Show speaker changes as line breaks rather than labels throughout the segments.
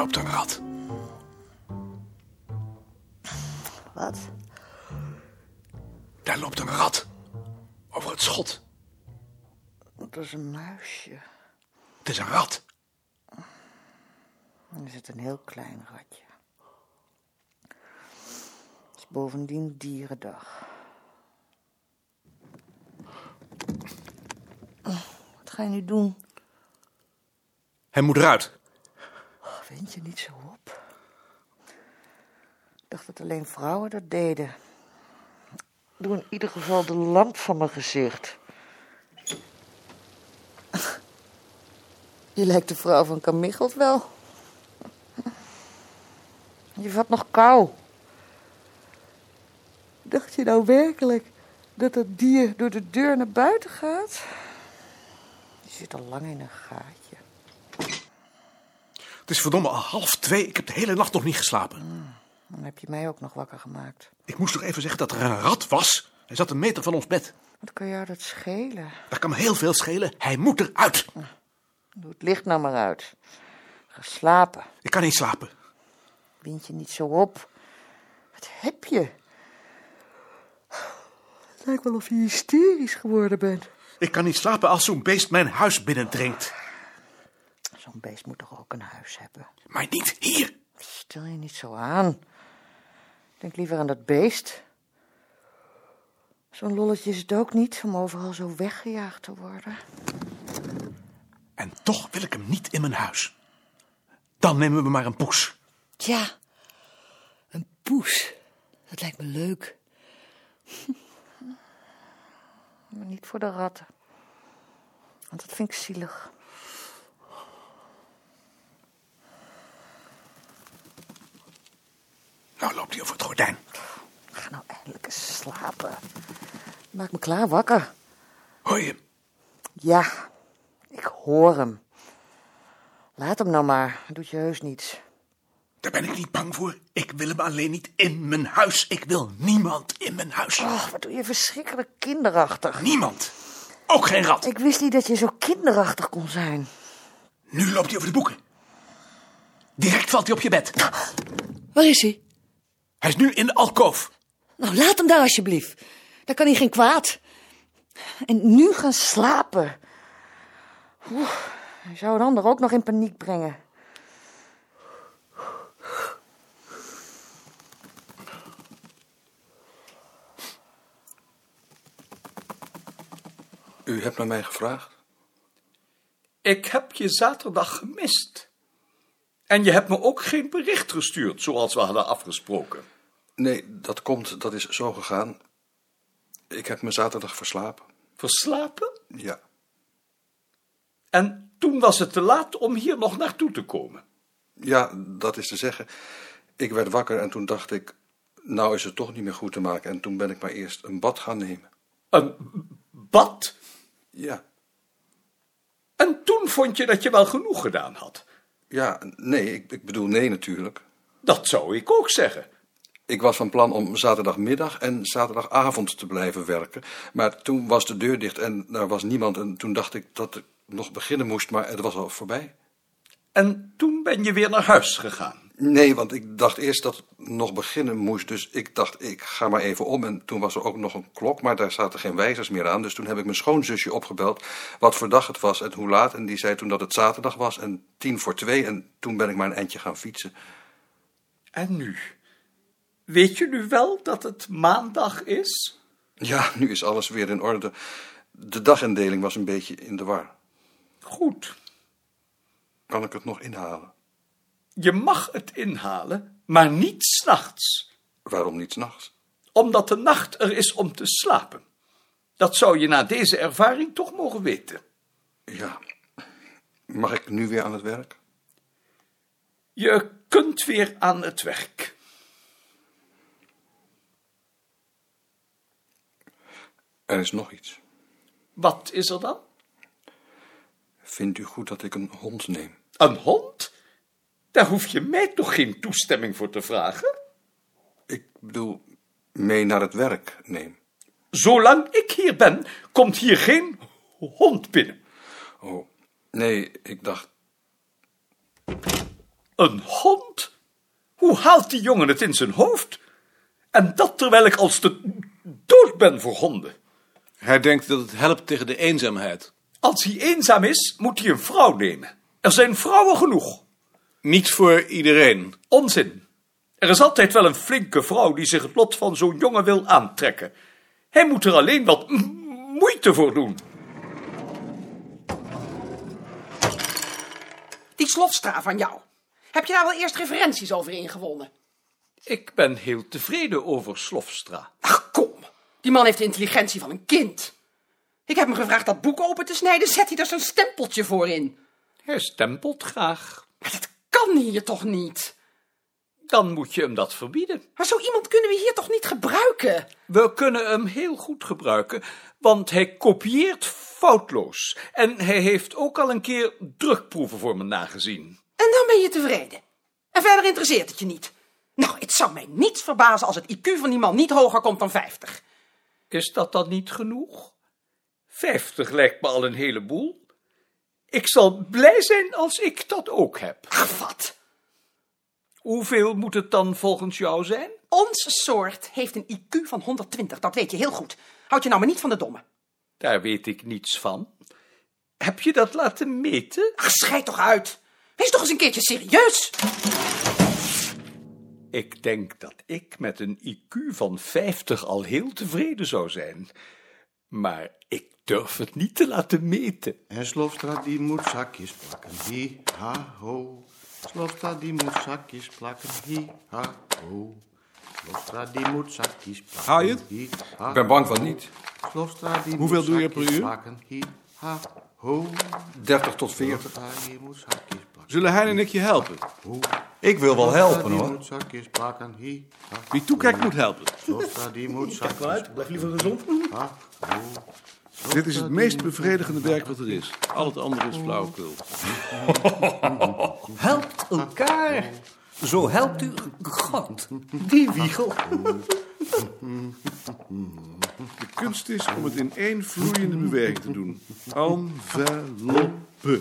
op de rat.
Wat?
Daar loopt een rat. Over het schot.
Dat is een muisje.
Het is een rat.
Dan is het een heel klein ratje. Het is bovendien dierendag. Wat ga je nu doen?
Hij moet eruit.
Oh, Wind je niet zo op? Ik dacht dat alleen vrouwen dat deden. Doe in ieder geval de lamp van mijn gezicht. Je lijkt de vrouw van Kamichelt wel. Je vat nog kou. Dacht je nou werkelijk dat dat dier door de deur naar buiten gaat? Je zit al lang in een gaatje.
Het is verdomme al half twee. Ik heb de hele nacht nog niet geslapen.
Dan heb je mij ook nog wakker gemaakt.
Ik moest toch even zeggen dat er een rat was. Hij zat een meter van ons bed.
Wat kan jou dat schelen?
Daar kan me heel veel schelen. Hij moet eruit.
Doe het licht nou maar uit. Ga slapen.
Ik kan niet slapen.
Wind je niet zo op. Wat heb je? Het lijkt wel of je hysterisch geworden bent.
Ik kan niet slapen als zo'n beest mijn huis binnendringt.
Zo'n beest moet toch ook een huis hebben?
Maar niet hier.
Stel je niet zo aan. Denk liever aan dat beest. Zo'n lolletje is het ook niet om overal zo weggejaagd te worden.
En toch wil ik hem niet in mijn huis. Dan nemen we maar een poes.
Tja, een poes. Dat lijkt me leuk.
Maar niet voor de ratten. Want dat vind ik zielig.
Nou loopt hij over het gordijn.
Ga nou eindelijk eens slapen. Maak me klaar wakker.
Hoor je hem?
Ja, ik hoor hem. Laat hem nou maar. Hij doet je heus niets.
Daar ben ik niet bang voor. Ik wil hem alleen niet in mijn huis. Ik wil niemand in mijn huis.
Och, wat doe je verschrikkelijk kinderachtig.
Niemand. Ook geen rat.
Ik wist niet dat je zo kinderachtig kon zijn.
Nu loopt hij over de boeken. Direct valt hij op je bed.
Waar is hij?
Hij is nu in de alkoof.
Nou, laat hem daar alsjeblieft. Daar kan hij geen kwaad.
En nu gaan slapen. Oeh, hij zou een ander ook nog in paniek brengen.
U hebt naar mij gevraagd.
Ik heb je zaterdag gemist. En je hebt me ook geen bericht gestuurd, zoals we hadden afgesproken.
Nee, dat komt, dat is zo gegaan. Ik heb me zaterdag verslapen.
Verslapen?
Ja.
En toen was het te laat om hier nog naartoe te komen.
Ja, dat is te zeggen. Ik werd wakker en toen dacht ik, nou is het toch niet meer goed te maken. En toen ben ik maar eerst een bad gaan nemen.
Een bad?
Ja.
En toen vond je dat je wel genoeg gedaan had.
Ja, nee, ik, ik bedoel nee natuurlijk.
Dat zou ik ook zeggen.
Ik was van plan om zaterdagmiddag en zaterdagavond te blijven werken. Maar toen was de deur dicht en er was niemand. En toen dacht ik dat ik nog beginnen moest, maar het was al voorbij.
En toen ben je weer naar huis gegaan.
Nee, want ik dacht eerst dat het nog beginnen moest. Dus ik dacht, ik ga maar even om. En toen was er ook nog een klok, maar daar zaten geen wijzers meer aan. Dus toen heb ik mijn schoonzusje opgebeld wat voor dag het was en hoe laat. En die zei toen dat het zaterdag was en tien voor twee. En toen ben ik maar een eindje gaan fietsen.
En nu? Weet je nu wel dat het maandag is?
Ja, nu is alles weer in orde. De dagindeling was een beetje in de war.
Goed.
Kan ik het nog inhalen?
Je mag het inhalen, maar niet s'nachts.
Waarom niet s'nachts?
Omdat de nacht er is om te slapen. Dat zou je na deze ervaring toch mogen weten.
Ja. Mag ik nu weer aan het werk?
Je kunt weer aan het werk.
Er is nog iets.
Wat is er dan?
Vindt u goed dat ik een hond neem?
Een hond? Daar hoef je mij toch geen toestemming voor te vragen?
Ik bedoel, mee naar het werk neem.
Zolang ik hier ben, komt hier geen hond binnen.
Oh, nee, ik dacht.
Een hond? Hoe haalt die jongen het in zijn hoofd? En dat terwijl ik als de dood ben voor honden.
Hij denkt dat het helpt tegen de eenzaamheid.
Als hij eenzaam is, moet hij een vrouw nemen. Er zijn vrouwen genoeg.
Niet voor iedereen.
Onzin. Er is altijd wel een flinke vrouw die zich het lot van zo'n jongen wil aantrekken. Hij moet er alleen wat m- moeite voor doen.
Die slotstraat van jou. Heb je daar wel eerst referenties over ingewonnen?
Ik ben heel tevreden over Slofstra.
Ach, kom. Die man heeft de intelligentie van een kind. Ik heb hem gevraagd dat boek open te snijden. Zet hij daar zo'n stempeltje voor in?
Hij stempelt graag.
Maar dat kan hier toch niet?
Dan moet je hem dat verbieden.
Maar zo iemand kunnen we hier toch niet gebruiken?
We kunnen hem heel goed gebruiken, want hij kopieert foutloos. En hij heeft ook al een keer drukproeven voor me nagezien.
En dan ben je tevreden. En verder interesseert het je niet. Nou, het zou mij niets verbazen als het IQ van die man niet hoger komt dan 50.
Is dat dan niet genoeg? Vijftig lijkt me al een heleboel. Ik zal blij zijn als ik dat ook heb.
Ach, wat?
Hoeveel moet het dan volgens jou zijn?
Ons soort heeft een IQ van 120, dat weet je heel goed. Houd je nou maar niet van de domme.
Daar weet ik niets van. Heb je dat laten meten?
Ach, schijt toch uit. Wees toch eens een keertje serieus.
Ik denk dat ik met een IQ van 50 al heel tevreden zou zijn. Maar ik durf het niet te laten meten.
En Slofstra die moet zakjes plakken, hi, ha, ho. Slofstra die moet zakjes plakken, hi, ha, ho. Slofstra die moet zakjes plakken,
Hou je het?
hi, ha,
Ik ben bang van niet.
ho. Slofstra die
Hoeveel
moet
doe je per
zakjes
uur?
Plakken, hi, ha, ho.
30 tot 40.
Slofstra die moet zakjes plakken,
Zullen hij en ik je helpen?
Ik wil wel
Slofstra
helpen
die
hoor.
moet zakjes plakken, hi, ha,
Wie toekijkt moet helpen.
Slofstra die moet zakjes
Blijf liever gezond.
ha, ho.
Dit is het meest bevredigende werk wat er is. Al het andere is flauwekul.
Helpt elkaar.
Zo helpt u
God.
die wiegel.
De kunst is om het in één vloeiende beweging te doen. Enveloppe.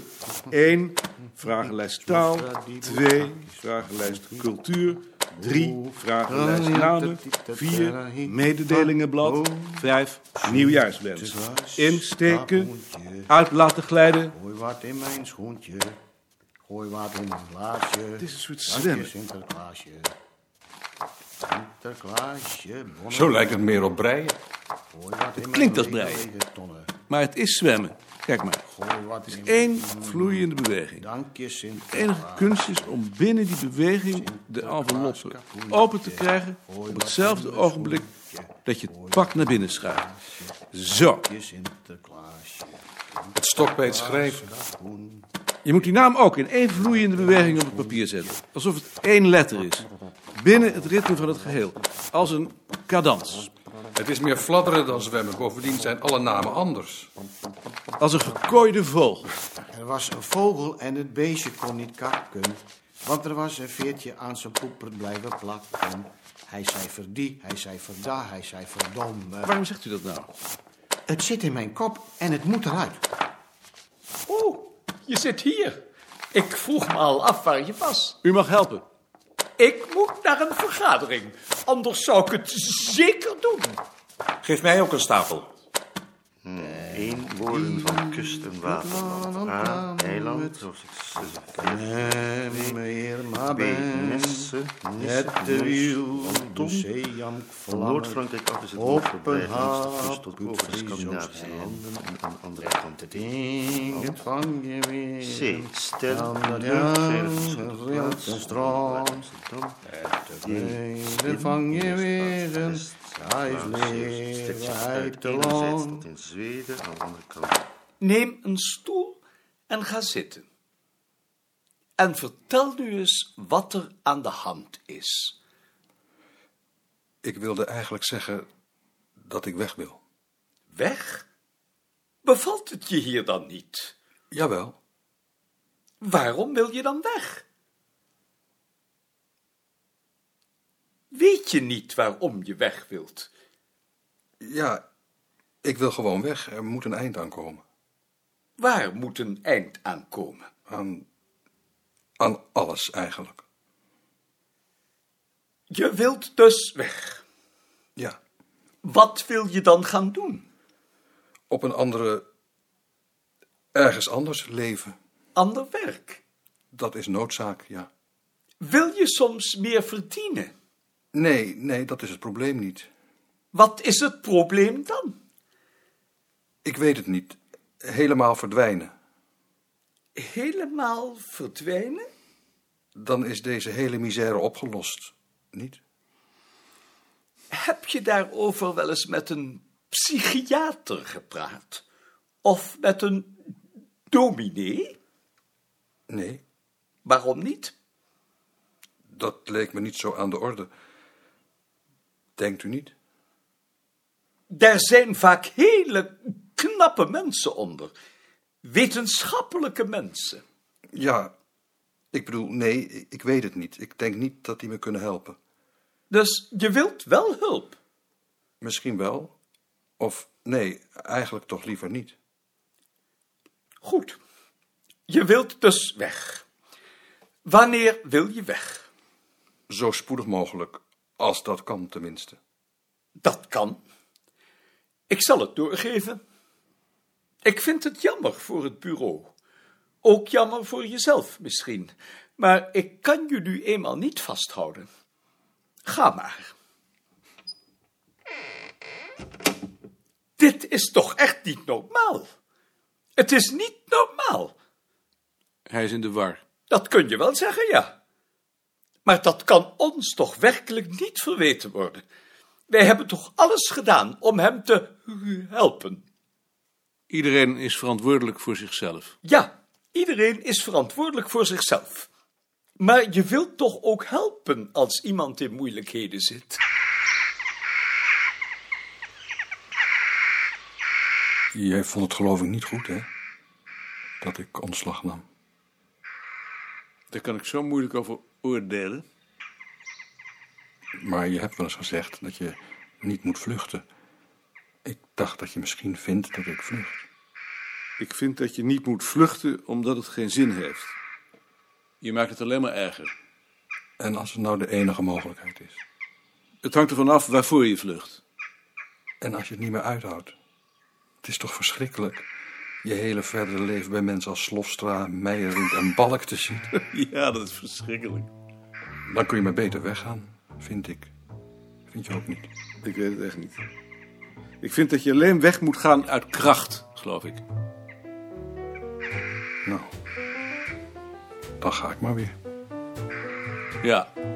Eén, vragenlijst taal. Twee, vragenlijst cultuur. Drie, vragenlijst namen. Vier, mededelingenblad. Vijf, nieuwjaarswens. Insteken, uit laten glijden.
Gooi wat in mijn schoentje. Gooi wat in mijn glaasje. Het
is een soort zwemmen.
Sinterklaasje. Sinterklaasje. bonne-
Zo lijkt het meer op breien.
Gooi wat in mijn
klinkt als
lege,
breien.
lege tonnen.
Maar het is zwemmen. Kijk maar.
Gooi wat in mijn-
Eén vloeiende beweging.
Dank je,
De
Sinterklaas.
enige kunst is om binnen die beweging de enveloppe open te krijgen op hetzelfde ogenblik dat je het pak naar binnen schuift. Zo,
Je Sinterklaasje.
Het stokbeet schrijven.
Groen.
je moet die naam ook in één vloeiende beweging op het papier zetten. Alsof het één letter is. Binnen het ritme van het geheel. Als een cadans.
Het is meer fladderen dan zwemmen. Bovendien zijn alle namen anders.
Als een gekooide vogel.
Er was een vogel en het beestje kon niet kakken. Want er was een veertje aan zijn poeper blijven plakken. Hij zei verdie, hij zei verda, hij zei verdomme.
Waarom zegt u dat nou?
Het zit in mijn kop en het moet eruit.
Oh, je zit hier. Ik vroeg me al af waar je was.
U mag helpen.
Ik moet naar een vergadering, anders zou ik het zeker doen.
Geef mij ook een stapel.
Eén woorden van kust en waterland. A, eiland,
Meer maar
B,
ben,
Nesse,
het de wiel, de zee jank
Van Noord-Frankrijk af is het land voorbij, langs de kust tot boven de Scandinavische landen en aan andere kant het
dingen van je
zee.
weer.
Stel naar
Dan
de
jank, rilt en stroom, dingen van je weer. Hij is leven uit de land.
tot in Zweden, aan de andere kant
Neem een stoel en ga zitten. En vertel nu eens wat er aan de hand is.
Ik wilde eigenlijk zeggen dat ik weg wil.
Weg? Bevalt het je hier dan niet?
Jawel.
Waarom wil je dan weg? Weet je niet waarom je weg wilt?
Ja, ik wil gewoon weg. Er moet een eind aan komen.
Waar moet een eind aan komen?
Aan aan alles eigenlijk.
Je wilt dus weg.
Ja.
Wat wil je dan gaan doen?
Op een andere, ergens anders leven,
Ander werk.
dat is noodzaak, ja.
Wil je soms meer verdienen?
Nee, nee, dat is het probleem niet.
Wat is het probleem dan?
Ik weet het niet. Helemaal verdwijnen.
Helemaal verdwijnen?
Dan is deze hele misère opgelost. Niet?
Heb je daarover wel eens met een psychiater gepraat? Of met een dominee?
Nee,
Waarom niet?
dat leek me niet zo aan de orde. Denkt u niet?
Daar zijn vaak hele knappe mensen onder. Wetenschappelijke mensen.
Ja, ik bedoel, nee, ik- ik weet het niet. Ik denk niet dat die me kunnen helpen.
Dus je wilt wel hulp.
Misschien wel. Of nee, eigenlijk toch liever niet.
Goed. Je wilt dus weg. Wanneer wil je weg?
Zo spoedig mogelijk, als dat kan tenminste.
Dat kan. Ik zal het doorgeven. Ik vind het jammer voor het bureau. Ook jammer voor jezelf misschien. Maar ik kan je nu eenmaal niet vasthouden. Ga maar. Dit is toch echt niet normaal? Het is niet normaal.
Hij is in de war.
Dat kun je wel zeggen, ja. Maar dat kan ons toch werkelijk niet verweten worden. Wij hebben toch alles gedaan om hem te helpen.
Iedereen is verantwoordelijk voor zichzelf.
Ja, iedereen is verantwoordelijk voor zichzelf. Maar je wilt toch ook helpen als iemand in moeilijkheden zit?
Jij vond het geloof ik niet goed, hè? Dat ik ontslag nam.
Daar kan ik zo moeilijk over oordelen.
Maar je hebt wel eens gezegd dat je niet moet vluchten. Ik dacht dat je misschien vindt dat ik vlucht.
Ik vind dat je niet moet vluchten omdat het geen zin heeft. Je maakt het alleen maar erger.
En als het nou de enige mogelijkheid is.
Het hangt ervan af waarvoor je vlucht.
En als je het niet meer uithoudt. Het is toch verschrikkelijk. Je hele verdere leven bij mensen als Slofstra, Meijering en Balk te zien.
Ja, dat is verschrikkelijk.
Dan kun je maar beter weggaan, vind ik. Vind je ook niet?
Ik weet het echt niet. Ik vind dat je alleen weg moet gaan uit kracht, geloof ik.
Nou, dan ga ik maar weer.
Ja.